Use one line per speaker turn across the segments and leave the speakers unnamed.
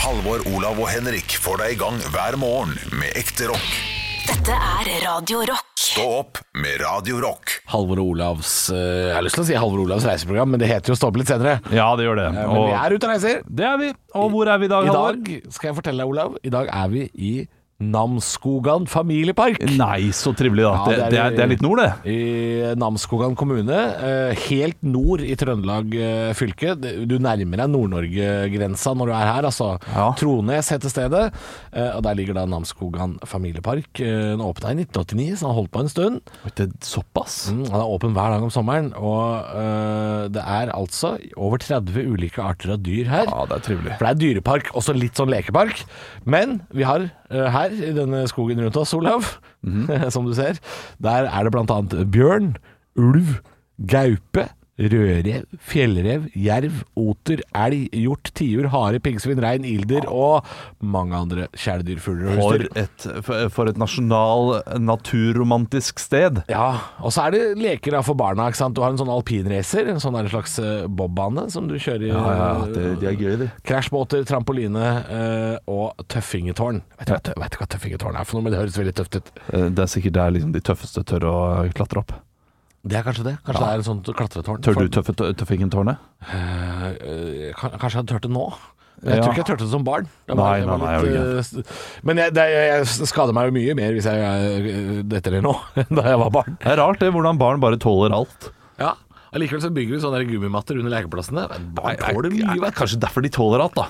Halvor, Olav og Henrik får deg i gang hver morgen med ekte rock.
Dette er Radio Rock.
Stå opp med Radio Rock.
Halvor og Olavs eh, Jeg har lyst til å si Halvor og Olavs reiseprogram, men det heter jo Stå opp litt senere.
Ja, det gjør det.
Eh, Men
Og
vi er ute og reiser.
det er vi. Og hvor er vi i dag,
I
Halvor?
dag skal jeg fortelle deg, Olav, i dag er vi i Namsskogan familiepark.
Nei, så trivelig, da.
Ja,
det, det, er, det er litt nord, det.
I Namsskogan kommune, eh, helt nord i Trøndelag eh, fylke. Det- Du nærmer deg Nord-Norge-grensa når du er her, altså.
Ja.
Trones heter stedet, eh, og der ligger da Namsskogan familiepark. Eh, Den åpna i 1989, så den har holdt på en stund.
Vet du, Såpass?
Mm, Den er åpen hver dag om sommeren, og eh, det er altså over 30 ulike arter av dyr her.
Ja, det er trivelig.
For det er dyrepark, også litt sånn lekepark. Men vi har eh, her, i denne skogen rundt oss, Olav, som du ser, der er det blant annet bjørn, ulv, gaupe, rødrev, fjellrev, jerv, oter, elg, hjort, tiur, hare, piggsvin, rein, ilder og mange andre kjæledyrfugler og
For
husdyr.
et, for- for et nasjonal, naturromantisk sted.
Ja, og så er det leker da for barna, ikke sant? Du har en sånn alpinracer, en sånn der slags eh, bobbane som du kjører i
er gøy, de.
Krasjbåter, trampoline eh, og tøffingetårn. Vet du, hva tø- vet du hva tøffingetårn er for noe? Men det høres veldig tøft ut.
Det er sikkert der liksom de tøffeste tør å klatre opp.
Det er kanskje det. Kanskje det er en sånn klatretårn.
Tør du
For-
tøffe, tøffingentårnet?
Eh, eh, kan- Kanskje jeg tørte nå. Jeg
Ja.
tror ikke jeg tørte det som barn. Det
Nei,
det
nei, nei, jeg
litt, eh, men jeg, det, jeg skader meg jo mye mer hvis jeg eh, detter ned nå, enn da jeg var barn.
Det er rart det, hvordan barn bare tåler alt.
Ja, Allikevel så bygger du sånne der gummimatter under lekeplassene. Barn tåler mye, vet du.
Kanskje derfor de tåler alt, da.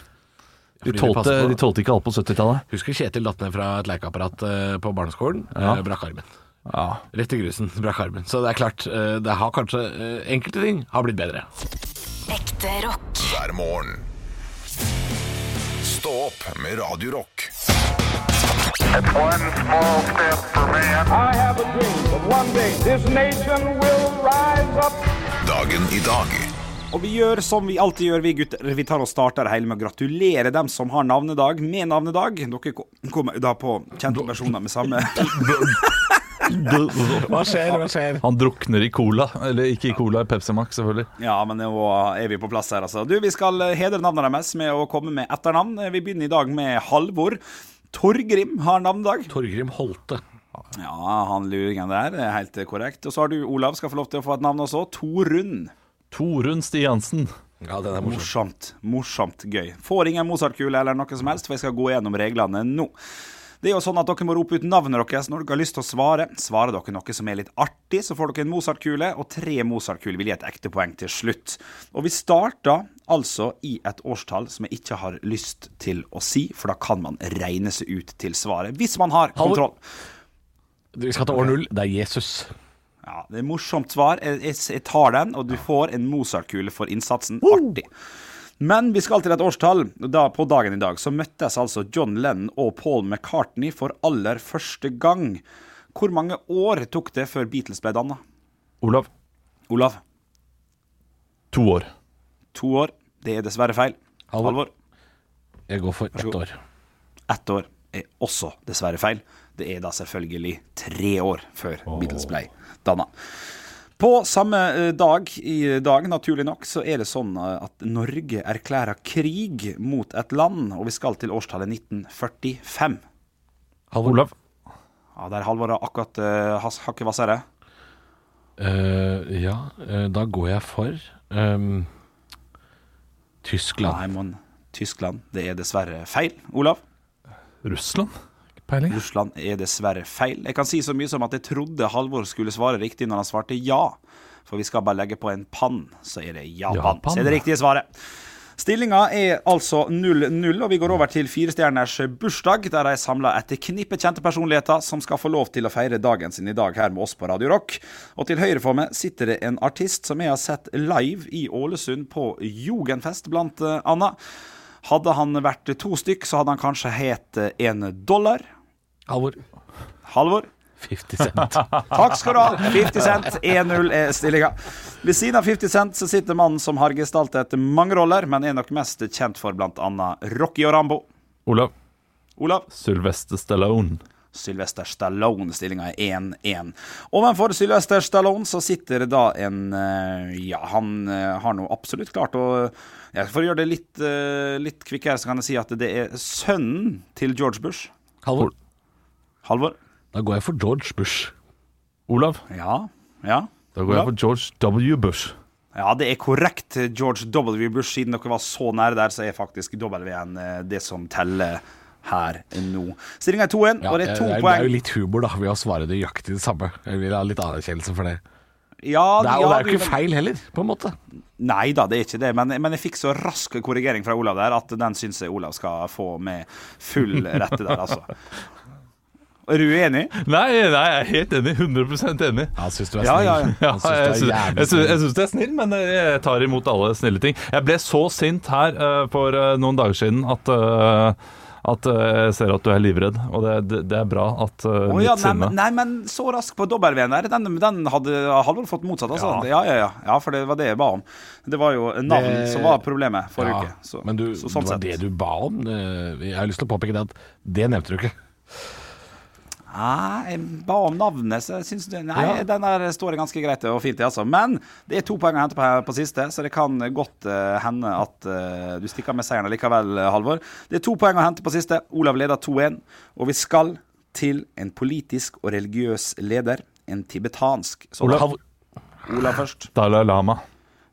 Fordi
De
de
tålte,
passer på.
de tålte ikke alt på 70-tallet.
Husker Kjetil datt ned fra et lekeapparat eh, på barneskolen.
Ja.
eh, Brakk armen.
Ja.
Rett i grusen. Brakk armen. Så det er klart, eh, det har kanskje eh, Enkelte ting har blitt bedre.
Ekte rock.
Hver morgen. Stå opp med Radio Rock.
It's one small step for man.
I have a dream that one day this nation will rise up.
Dagen i dag.
Og vi gjør som vi alltid gjør, vi gutter. Vi tar og starter det hele med å gratulere dem som har navnedag, med navnedag. Dere ko- kommer da på kjente personer med samme
Hva skjer, hva skjer?
Han drukner i cola. Eller ikke i cola, i Pepsi Max, selvfølgelig.
Ja, men nå er vi på plass her, altså. Du, vi skal hedre navnene deres med å komme med etternavn. Eh, Vi begynner i dag med Halvor. Torgrim har navnedag.
Torgrim Holte.
Ja, han luringen der er helt eh, korrekt. Og så har du Olav, skal få lov til å få et navn også. Torunn.
Torunn Stiansen.
Ja, den er morsom.
Morsomt. Morsomt gøy. Får ingen Mozart-kule eller noe som helst, for jeg skal gå gjennom reglene nå. Det er jo sånn at Dere må rope ut navnet deres når dere har lyst til å svare. Svarer dere noe som er litt artig, så får dere en Mozart-kule, og tre Mozart-kuler vil gi et ekte poeng til slutt. Og Vi starter altså i et årstall som jeg ikke har lyst til å si, for da kan man regne seg ut til svaret, hvis man har kontroll.
Vi skal til år null. Det er Jesus.
Ja, Det er morsomt svar. Jeg, jeg, jeg tar den, og du får en Mozart-kule for innsatsen. Artig. Men vi skal til et årstall. Da, på dagen i dag så møttes altså John Lennon og Paul McCartney for aller første gang. Hvor mange år tok det før Beatles ble danna?
Olav,
Olav,
to år.
to år. Det er dessverre feil.
Halvor.
Halvor,
Jeg går for ett år.
ett år er også dessverre feil. Det er da selvfølgelig tre år før Beatles ble danna. På samme eh, dag i dag, naturlig nok, så er det sånn eh, at Norge erklærer krig mot et land, og vi skal til årstallet 1945.
Olav.
Ja, Der Halvor har akkurat eh, has- hakket hvassere.
Eh, ja, eh, da går jeg for ehm, Tyskland.
Nei, men Tyskland, det er dessverre feil. Olav?
Russland? Ikke Peiling.
Russland er dessverre feil. Jeg kan si så mye som at jeg trodde Halvor skulle svare riktig når han svarte ja. For vi skal bare legge på en pann, så er det Japan.
Japan,
Så er det
ja.
riktige svaret. Stillinga er altså 0-0, og vi går over til firestjerners bursdag, der de samler et knippe kjente personligheter som skal få lov til å feire dagen sin i dag her med oss på Radio Rock. Og til høyre for meg sitter det en artist som jeg har sett live i Ålesund på Jugendfest, blant eh, annet. Hadde han vært to stykk, så hadde han kanskje het eh, en dollar.
Halvor.
Halvor.
50 Cent.
Takk skal du ha. 50 Cent 1-0 er stillinga. Ved siden av 50 Cent så sitter mannen som har gestaltet mange roller, men er nok mest kjent for bl.a. Rocky og Rambo.
Olav.
Olav.
Sylvester Stallone.
Sylvester Stallone. Stillinga er 1-1. Ovenfor Sylvester Stallone så sitter det da en eh, Ja, han eh, har nå absolutt klart å Ja, for å gjøre det litt, eh, litt kvikkere, så kan jeg si at det er sønnen til George Bush,
Halvor,
Halvor.
da går jeg for George Bush.
Olav,
Ja, ja.
da går jeg for George W. Bush.
Ja, det er korrekt, George W. Bush. Siden dere var så nære der, så er faktisk W-en eh, det som teller her nå. Stillinga er 2-1, og det er to
eh, det, er, det er
poeng.
jo litt humor da ved å svare nøyaktig det samme. Jeg vil ha litt anerkjennelse for det.
ja,
det er, og
ja,
det er jo
du-
ikke feil heller, på en måte.
Nei da, det er ikke det. Men, men jeg fikk så rask korrigering fra Olav der at den syns jeg Olav skal få med full rette der, altså. Er du enig?
Nei, nei, jeg er helt enig. 100 enig.
Han syns du er
Ja,
snill.
ja, ja.
Ja,
Han syns
jeg
du er jævlig
syns
snill.
jeg syns det er snill, men eh, jeg tar imot alle snille ting. Jeg ble så sint her eh, for eh, noen dager siden at eh, at eh, jeg ser at du er livredd, og det, det, det er bra at eh,
Å
mitt
ja, nei,
sinne
men- nei, men så rask på W-en der. Den, den hadde Halvor fått motsatt, altså. Ja. ja, ja, ja. For det var det jeg ba om. Det var jo navn
Det-
som var problemet forrige
Ja,
uke. Så,
men du,
så sånn
det var
sett.
det du ba om. eh, Jeg har lyst til å påpeke det at det nevnte du ikke.
Nei, jeg ba om navnet, så jeg syns det Nei,
Ja.
den der står det ganske greit og fint i, altså. Men det er to poeng å hente på, på siste, så det kan godt eh, hende at eh, du stikker med seieren likevel, eh, Halvor. Det er to poeng å hente på siste. Olav leder 2-1. Og vi skal til en politisk og religiøs leder. En tibetansk. Så
Olav,
Olav, først.
Dalai Lama.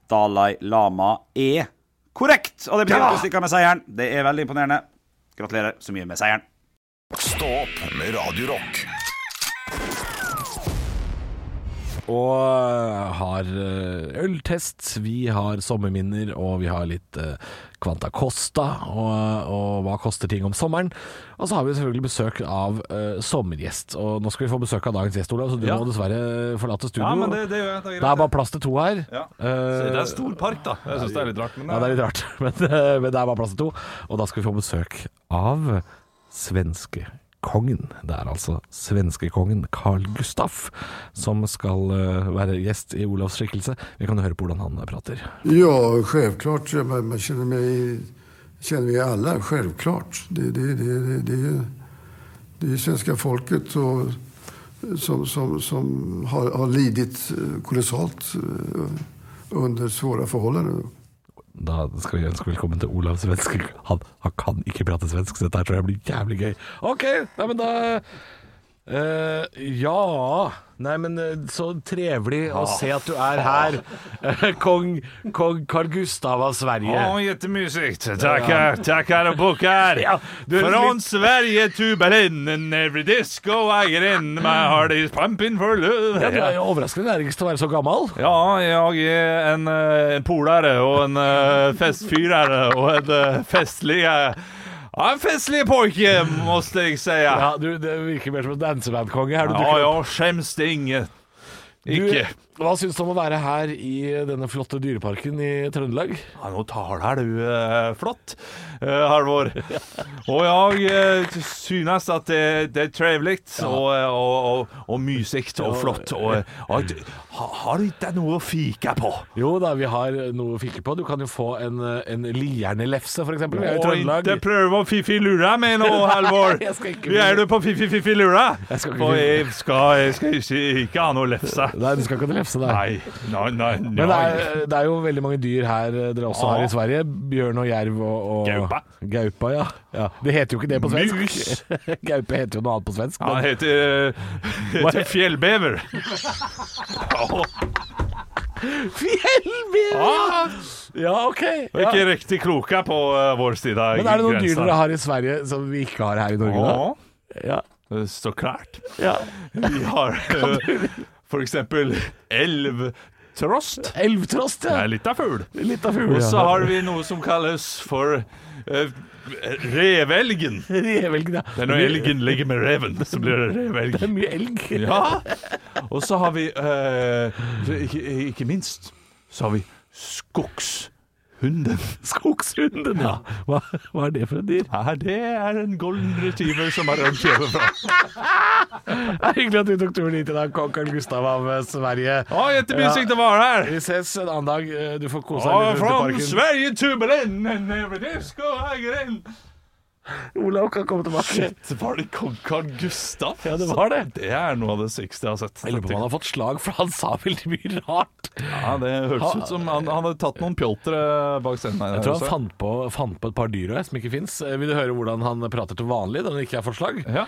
Dalai Lama er korrekt. Og det betyr at du stikker med seieren. Det er veldig imponerende. Gratulerer så mye med seieren.
Stå opp med Radio Rock.
og har eh, øltest, vi har sommerminner, og vi har litt eh, Quanta Costa, og, og hva koster ting om sommeren. Og så har vi selvfølgelig besøk av eh, sommergjest. Og nå skal vi få besøk av dagens gjest, Olav, så du
Ja.
må dessverre forlate studio.
gjør jeg.
det er bare plass til to her. Eh,
det er stor park, da. Jeg syns det er litt rart.
Ja, det er litt rart, men, men det er bare plass til to. Og da skal vi få besøk av svenskekongen. Det er altså svenskekongen Carl Gustaf som skal eh, være gjest i Olavs skikkelse. Vi kan høre på hvordan han prater.
Ja, självklart. Ja, Man, man känner mig, känner vi alla, självklart. Det, det, det, det, det, är- det är ju svenska folket och, som, som, som har, har lidit eh, kolossalt eh, under svåra förhållanden.
Da skal vi ønske velkommen til Olav svenske... Han, han kan ikke prate svensk, så dette her tror jeg blir jævlig gøy. OK, nei, men da eh, ja Nei, men eh, så trevelig å se at du er her, kong, kong Carl Gustav av Sverige.
Ah. jättemysigt. Tackar, tackar och bockar.
du är
Från
lite-
Sverige to Berlin and every disco I get in my heart is pumping for love.
Ja, du er jo overraskende energisk til å være så gammel.
Ja, jeg er en, eh, en polare og en eh, festfyrare og en eh, festlig eh, Ja, en festlig pojke, måste jeg säga.
Ja, du, Det virker mer som en dansebandkonge. her du
Ja,
dukker opp.
jeg skäms det inget. Ikke.
Du, hva syns du om å være her i denne flotte dyreparken i Trøndelag?
Ja, nå taler du eh, flott, eh, Halvor. Og jeg eh, synes at det, det er trivelig og, eh, og, og, og mysig og flott. Og, eh, og, ha, har du ikke noe å fike på?
Jo da, vi har noe å fikke på. Du kan jo få en, en liernelefse, for eksempel. Vi er i
Og
Trøndelag.
ikke prøve å fiffi-lure meg nå, Halvor.
Nei, jeg skal ikke-
Vi er du på fiffi-fiffi-lure?
Jeg skal ikke-
Og jeg skal, jeg skal ikke, ikke ha noe lefse.
Nei, du skal ikke ha en lefse, nei.
Nei, nei, nei. nei.
Men det er, det er jo veldig mange dyr her eh, dere også
Ja.
har i Sverige. Bjørn og jerv og, og
Gaupa.
Gaupa, ja. ja. Det heter jo ikke det på svensk.
Mus.
Gaupe heter jo noe annet på svensk.
Han
Men
heter, heter Fjellbever.
Fjellbjørn!
Ah,
Ja, OK.
Vi er
Ja.
ikke riktig kloke på eh, vår side av
Men er det noen dyr
grensa.
dere har i Sverige som vi ikke har her i Norge, da? Ja.
Ja, så klart.
ja.
Vi har eh, for eksempel elvtrost.
Elvtrost,
Det
ja.
er litt av fugl.
Litt av fugl.
Og så
ja.
har vi noe som kalles for eh, revelgen.
Revelgen, ja.
Det er når elgen ligger med reven, så blir det revelg.
Det er mye elg.
Ja. Og så har vi eh, ikke, ikke minst så har vi skogshunden.
Skogshunden, ja. Hva, hva er det for et dyr?
Ja, det er en golden retriever som har rømt hjemmefra.
Det er Hyggelig at du tok turen hit i dag, kong Carl Gustav av eh, Sverige.
Å, jättemysigt att vara här!
Vi ses en annen dag. Eh, Du får kose deg
Ja,
litt rundt i
från
parken.
Sverige till Berlin, and every disco I get in.
Olav kan komme tilbake.
Shit, var det kong Carl Gustav?
Ja, det var det.
Det er noe av det sykeste jeg har sett.
Jeg lurer på om han har fått slag, for han sa veldig mye rart.
Ja, det hørtes ut som han, han hadde tatt noen pjoltre eh, bak scenen. her
Jeg tror
også.
han fant på, fant på et par dyr også, som ikke fins. Vil du høre hvordan han prater til vanlig når det ikke er forslag?
Ja.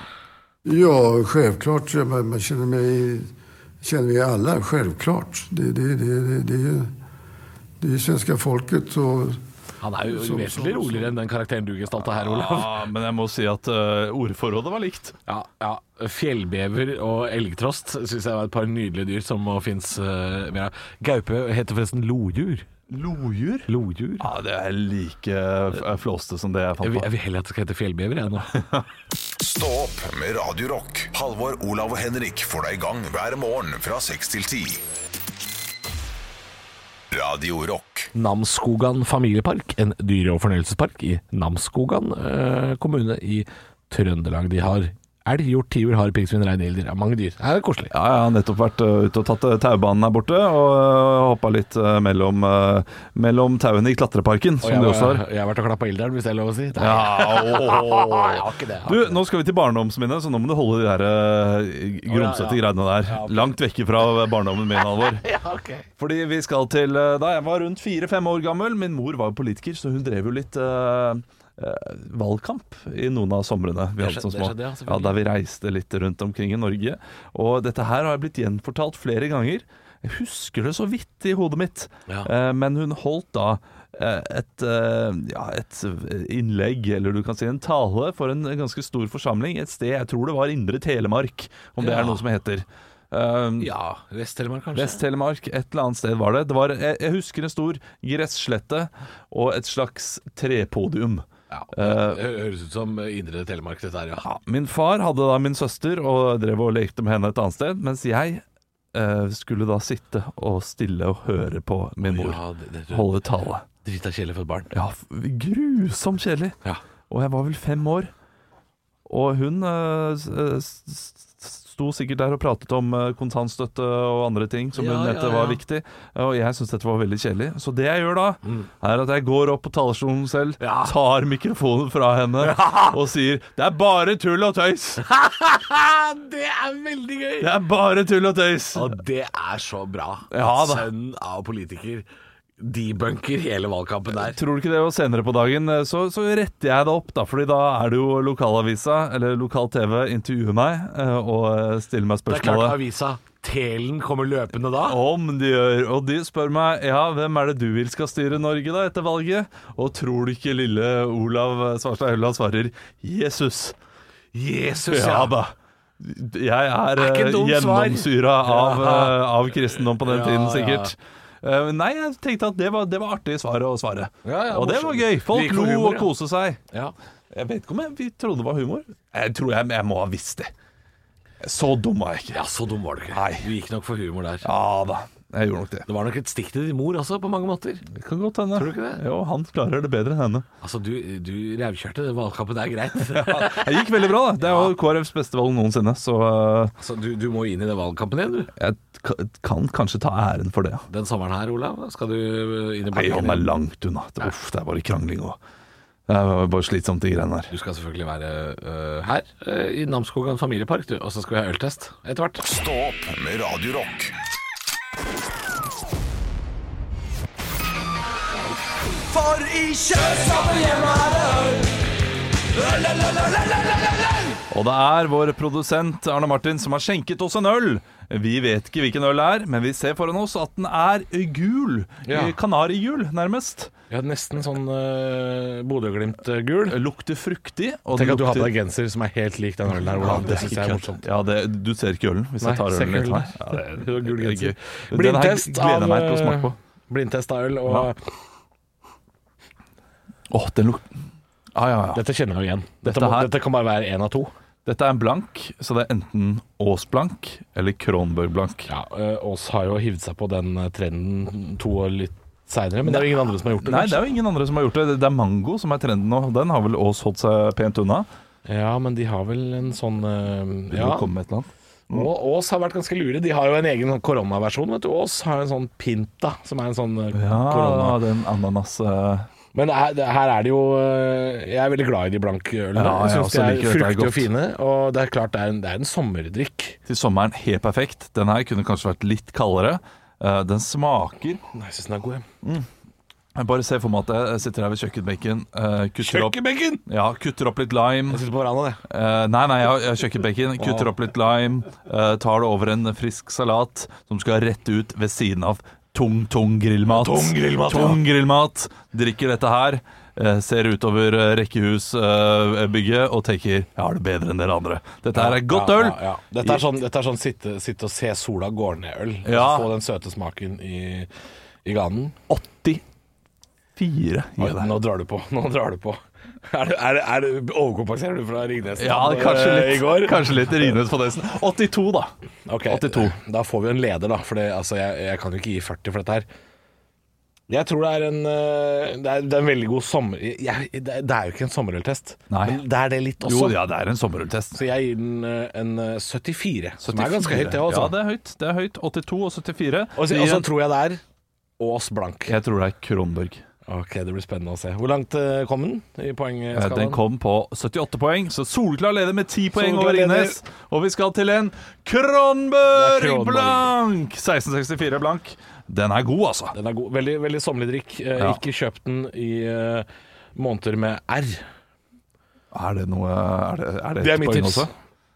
Ja, självklart. Ja, Man, man känner, mig, känner vi alla, självklart. Det, det, det, det, det, är ju- det er ju svenska folket og
Han er jo
Som-
vesentlig
som-
roligere enn den karakteren du gestalta
Ah.
her, Olav.
ja, men jeg må si at eh, ordforrådet var likt.
Ja, ja. Fjellbever og elgtrost syns jeg var et par nydelige dyr som må fins mer av. Gaupe heter forresten lodjur.
Lodjur?
Lodjur?
Ja, det er like eh, flåste som det jeg
Jeg
fant
vil, jeg
på.
vil heller at det skal hete fjellbever, jeg nå.
Stå opp med Radio Rock. Halvor, Olav og Henrik får deg i gang hver morgen fra 6 til 10. Radio Rock.
Namsskogan familiepark, en dyre- og fornøyelsespark i Namsskogan eh, kommune i Trøndelag. De har elg, hjort, tiur, har, pinnsvin, rein, ilder. Ja, mange dyr. Her er det koselig.
Ja, jeg har nettopp vært eh, ute og tatt eh, taubanen her borte, og uh, hoppa litt eh, mellom, eh, mellom tauene i klatreparken, som
jeg,
de også har.
jeg har vært og klappa ilderen, hvis det er lov å si. Nei,
Ja,
jeg har ikke det. jeg har
Du,
ikke det.
nå skal vi til barndomsminnet, så nå må du holde de der eh,
Å, ja,
grumsete
ja.
greiene der.
Ja, ok.
Langt vekke fra barndommen min, Halvor.
Ja, ok.
Fordi vi skal til eh, da jeg var rundt fire-fem år gammel. Min mor var jo politiker, så hun drev jo litt eh, eh, valgkamp i noen av somrene vi
Det
hadde som
skjedde-
små.
det skjedde, ja, selvfølgelig.
ja, Der vi reiste litt rundt omkring i Norge. Og dette her har jeg blitt gjenfortalt flere ganger. Jeg husker det så vidt i hodet mitt.
Ja.
Eh, men hun holdt da eh, et, eh, ja, et innlegg, eller du kan si en tale, for en ganske stor forsamling et sted jeg tror det var Indre Telemark, om det
Ja.
er noe som heter. Um,
Ja, Vest-Telemark, kanskje.
Vest-Telemark, et eller annet sted var det. det var, jeg, jeg husker en stor gresslette og et slags trepodium.
Ja,
Eh,
det høres ut som Indre Telemark, dette her, ja.
Ja, min far hadde da min søster og drev og lekte med henne et annet sted, mens jeg eh, skulle da sitte og stille og høre på min mor
Ja, det- det-
holde tale.
Drita kjedelig for et barn.
Ja, f- grusom kjedelig.
Ja.
Og jeg var vel fem år. Og hun eh, s- s- s- sto sikkert der og pratet om eh, kontantstøtte og andre ting som
Ja,
hun
ja,
mente var
ja.
viktig. Og jeg syns dette var veldig kjedelig. Så det jeg gjør da, er at jeg går opp på talerstolen selv,
Mm. Ja.
tar mikrofonen fra henne og sier 'Det er bare tull og tøys'!
det er veldig gøy!
Det er bare tull og tøys!
Og det er så bra.
Ja, da.
Sønnen av politiker debunker hele valgkampen der.
Tror du ikke det? Og senere på dagen eh, så, så retter jeg det opp, da. Fordi da er det jo lokalavisa, eller lokal-TV, intervjuer meg eh, og eh, stiller meg
Det er klart
spørsmålet.
avisa Telen kommer løpende da.
Om de gjør. Og de spør meg ja, hvem er det du vil skal styre Norge da etter valget? Og tror du ikke lille Olav Svarstad Hølla svarer Jesus?
Jesus,
Ja da. Jeg er
Det er ikke
eh,
et dumt svar.
gjennomsyra av,
Ja.
eh, av kristendom på den
Ja,
tiden,
ja.
sikkert. Eh, Nei, jeg tenkte at det var, det var artig svar å svare.
Ja, ja,
og det var
morsomt.
gøy.
Det
Folk
gikk for
lo
humor,
og
ja.
koste seg.
Ja.
Jeg vet ikke om jeg, vi trodde det var humor. Jeg tror jeg, jeg må ha visst det. Så dum var jeg ikke.
Ja, så dum var du ikke.
Nei.
Du gikk nok for humor der.
Ja da, jeg gjorde nok det.
Det var nok et stikk til din mor også, på mange måter.
Det kan godt hende.
Tror du ikke det?
Jo, han klarer det bedre enn henne.
Altså, du, du revkjørte, valgkampen er greit.
Det gikk veldig bra, da. Det er jo KrFs beste valg noensinne, så eh,
altså, du, du må inn i den valgkampen igjen, du.
jeg k- kan kanskje ta æren for det. ja.
Den sommeren her, Olav, skal du eh, inn i
Nei, han er
igjen.
langt unna. Det, uff, det er bare krangling og Det er bare slitsomt, de greiene her.
Du skal selvfølgelig være øh, her, øh, i Namsskogan familiepark, du. Og så skal vi ha øltest etter hvert.
Stå opp med Radio Rock.
Og det er vår produsent Arne Martin som har skjenket oss en øl. Vi vet ikke hvilken øl det er, men vi ser foran oss at den er gul.
Ja.
Eh, Kanarigul, nærmest.
Ja, nesten sånn øh, Bodø-Glimt-gul.
Lukter fruktig. Og
Tenk
den
at du har på
lukter-
deg genser som er helt lik den ølen der,
Ja,
Olav.
det er
synes
ikke
jeg
kødd. Ja, det, du ser ikke ølen hvis
Nei,
jeg tar
ser
ølen
ikke
litt
ølen.
her. Ja, det,
Du har gul
det er
genser.
gøy. Den her
Blindtest
gleder
av,
jeg meg til å smake på.
Blindtest av øl. Og
Ja.
eh,
Åh, den lukter Ja, ja, ja.
Dette kjenner jeg jo igjen. Dette,
Dette
må,
her-
dette kan bare være én av to.
Dette er en blank, så det er enten Aas-blank eller Kronborg-blank.
Ja, Ås Eh, har jo hivd seg på den eh, trenden to år litt seinere, men det er jo ingen andre som har gjort det.
Nei, det
kanskje.
er jo ingen andre som har gjort det. Det er mango som er trenden nå. Den har vel Aas holdt seg pent unna.
Ja, men de har vel en sånn eh,
Vil
Ja,
du komme med et eller annet?
og Ås har vært ganske lure. De har jo en egen koronaversjon, vet du. Ås har en sånn Pinta, som er en sånn eh,
Ja,
korona...
den ananas eh,
Men her, det- her er det jo eh, Jeg er veldig glad i de blanke ølene. jeg
Ja, jeg
syns
også
de er
liker dette her
fruktige og
godt.
fine. Og det er klart det er en, det er en sommerdrikk.
Til sommeren helt perfekt. Den her kunne kanskje vært litt kaldere. Eh, Den smaker
Nei, jeg syns den er god, jeg.
Jeg Bare se for meg at jeg sitter her ved kjøkkenbenken, eh, kutter opp,
Kjøkkenbenken!
ja, kutter opp litt lime.
Jeg sitter på verandaen, jeg.
Eh, nei, nei, jeg har- jeg har kjøkkenbenken. Kutter opp litt lime. eh, tar det over en frisk salat som skal rett ut ved siden av tung, tung grillmat.
Tung grillmat, ja.
Tung grillmat. Drikker dette her. eh, ser utover rekkehusbygget og tenker 'jeg har det bedre enn dere andre'. Dette her er godt
Ja,
øl.
Ja, ja. Dette er sånn, dette er sånn sitte, sitte og se sola gå ned-øl.
Ja.
Få den søte smaken i, i ganen.
84
Oi,
gir jeg deg.
nå drar du på. Nå drar du på. Er det, er det, er det, overkompenserer du fra Ringnes?
Ja,
da,
kanskje
eh,
litt,
I går?
kanskje litt Ringnes på nesen. 82, da.
Ok, eh,
82.
Da får vi jo en leder, da. For det, altså, jeg, jeg kan jo ikke gi 40 for dette her. Jeg tror det er en, eh, det er, det er en veldig god sommer... Jeg, det er- det er jo ikke en sommerøltest,
Nei.
men det er det litt også.
Jo, ja, det er en sommerøltest.
Så jeg gir den eh, en eh, 74, som er ganske høyt, det også.
Ja, det er høyt. Det er høyt. 82 og 74.
Og altså, så
Det gir
og så
en-
tror jeg det er Ås blank.
Jeg tror det er Kronborg.
Ok, Det blir spennende å se. Hvor langt eh, kom den i
Eh, Den
poengskalaen?
kom på 78 poeng, så Solklar leder med 10 poeng
Solklar
over Ringnes. Og vi skal til en Kronborg,
Det er Kronborg.
blank! 1664 blank. Den er god, altså.
Den er god. Veldig, veldig sommerlig drikk. Eh,
Ja.
Ikke kjøp den i eh, måneder med R.
Er det noe Er det, er det,
Det er
et
mitt
poeng
tips.
også?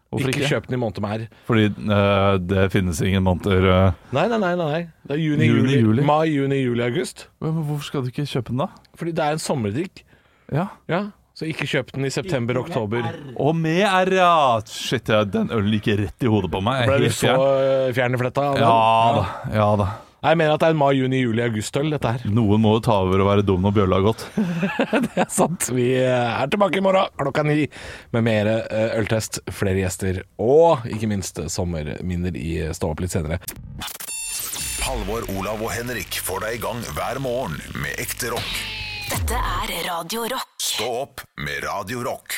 Hvorfor
ikke,
ikke?
kjøp den i måneder med R.
Fordi eh, det finnes ingen måneder eh.
Nei, nei, nei. nei, nei. Det er juni,
Juni,
juli.
juli.
Mai, juni, juli, august.
Men Hvorfor skal du ikke kjøpe den, da?
Fordi det er en sommerdrikk.
Ja.
Ja. Så ikke kjøp den i september, oktober.
Og med R, ja! Shit, ja, den ølen gikk rett i hodet på meg. Jeg er
Ble du
helt
så
fjern.
eh, fjern i fletta? av den?
Ja da. Ja da.
Nei, Jeg mener at det er en mai, juni, juli, august-øl, dette her.
Noen må jo ta over og være dum når bjølla har gått.
Det er sant. Vi eh, er tilbake i morgen klokka ni med mer eh, øltest, flere gjester og ikke minst sommerminner i eh, Stå opp litt senere.
Halvor, Olav og Henrik får deg i gang hver morgen med ekte rock.
Dette er Radio Rock.
Stå opp med Radio Rock.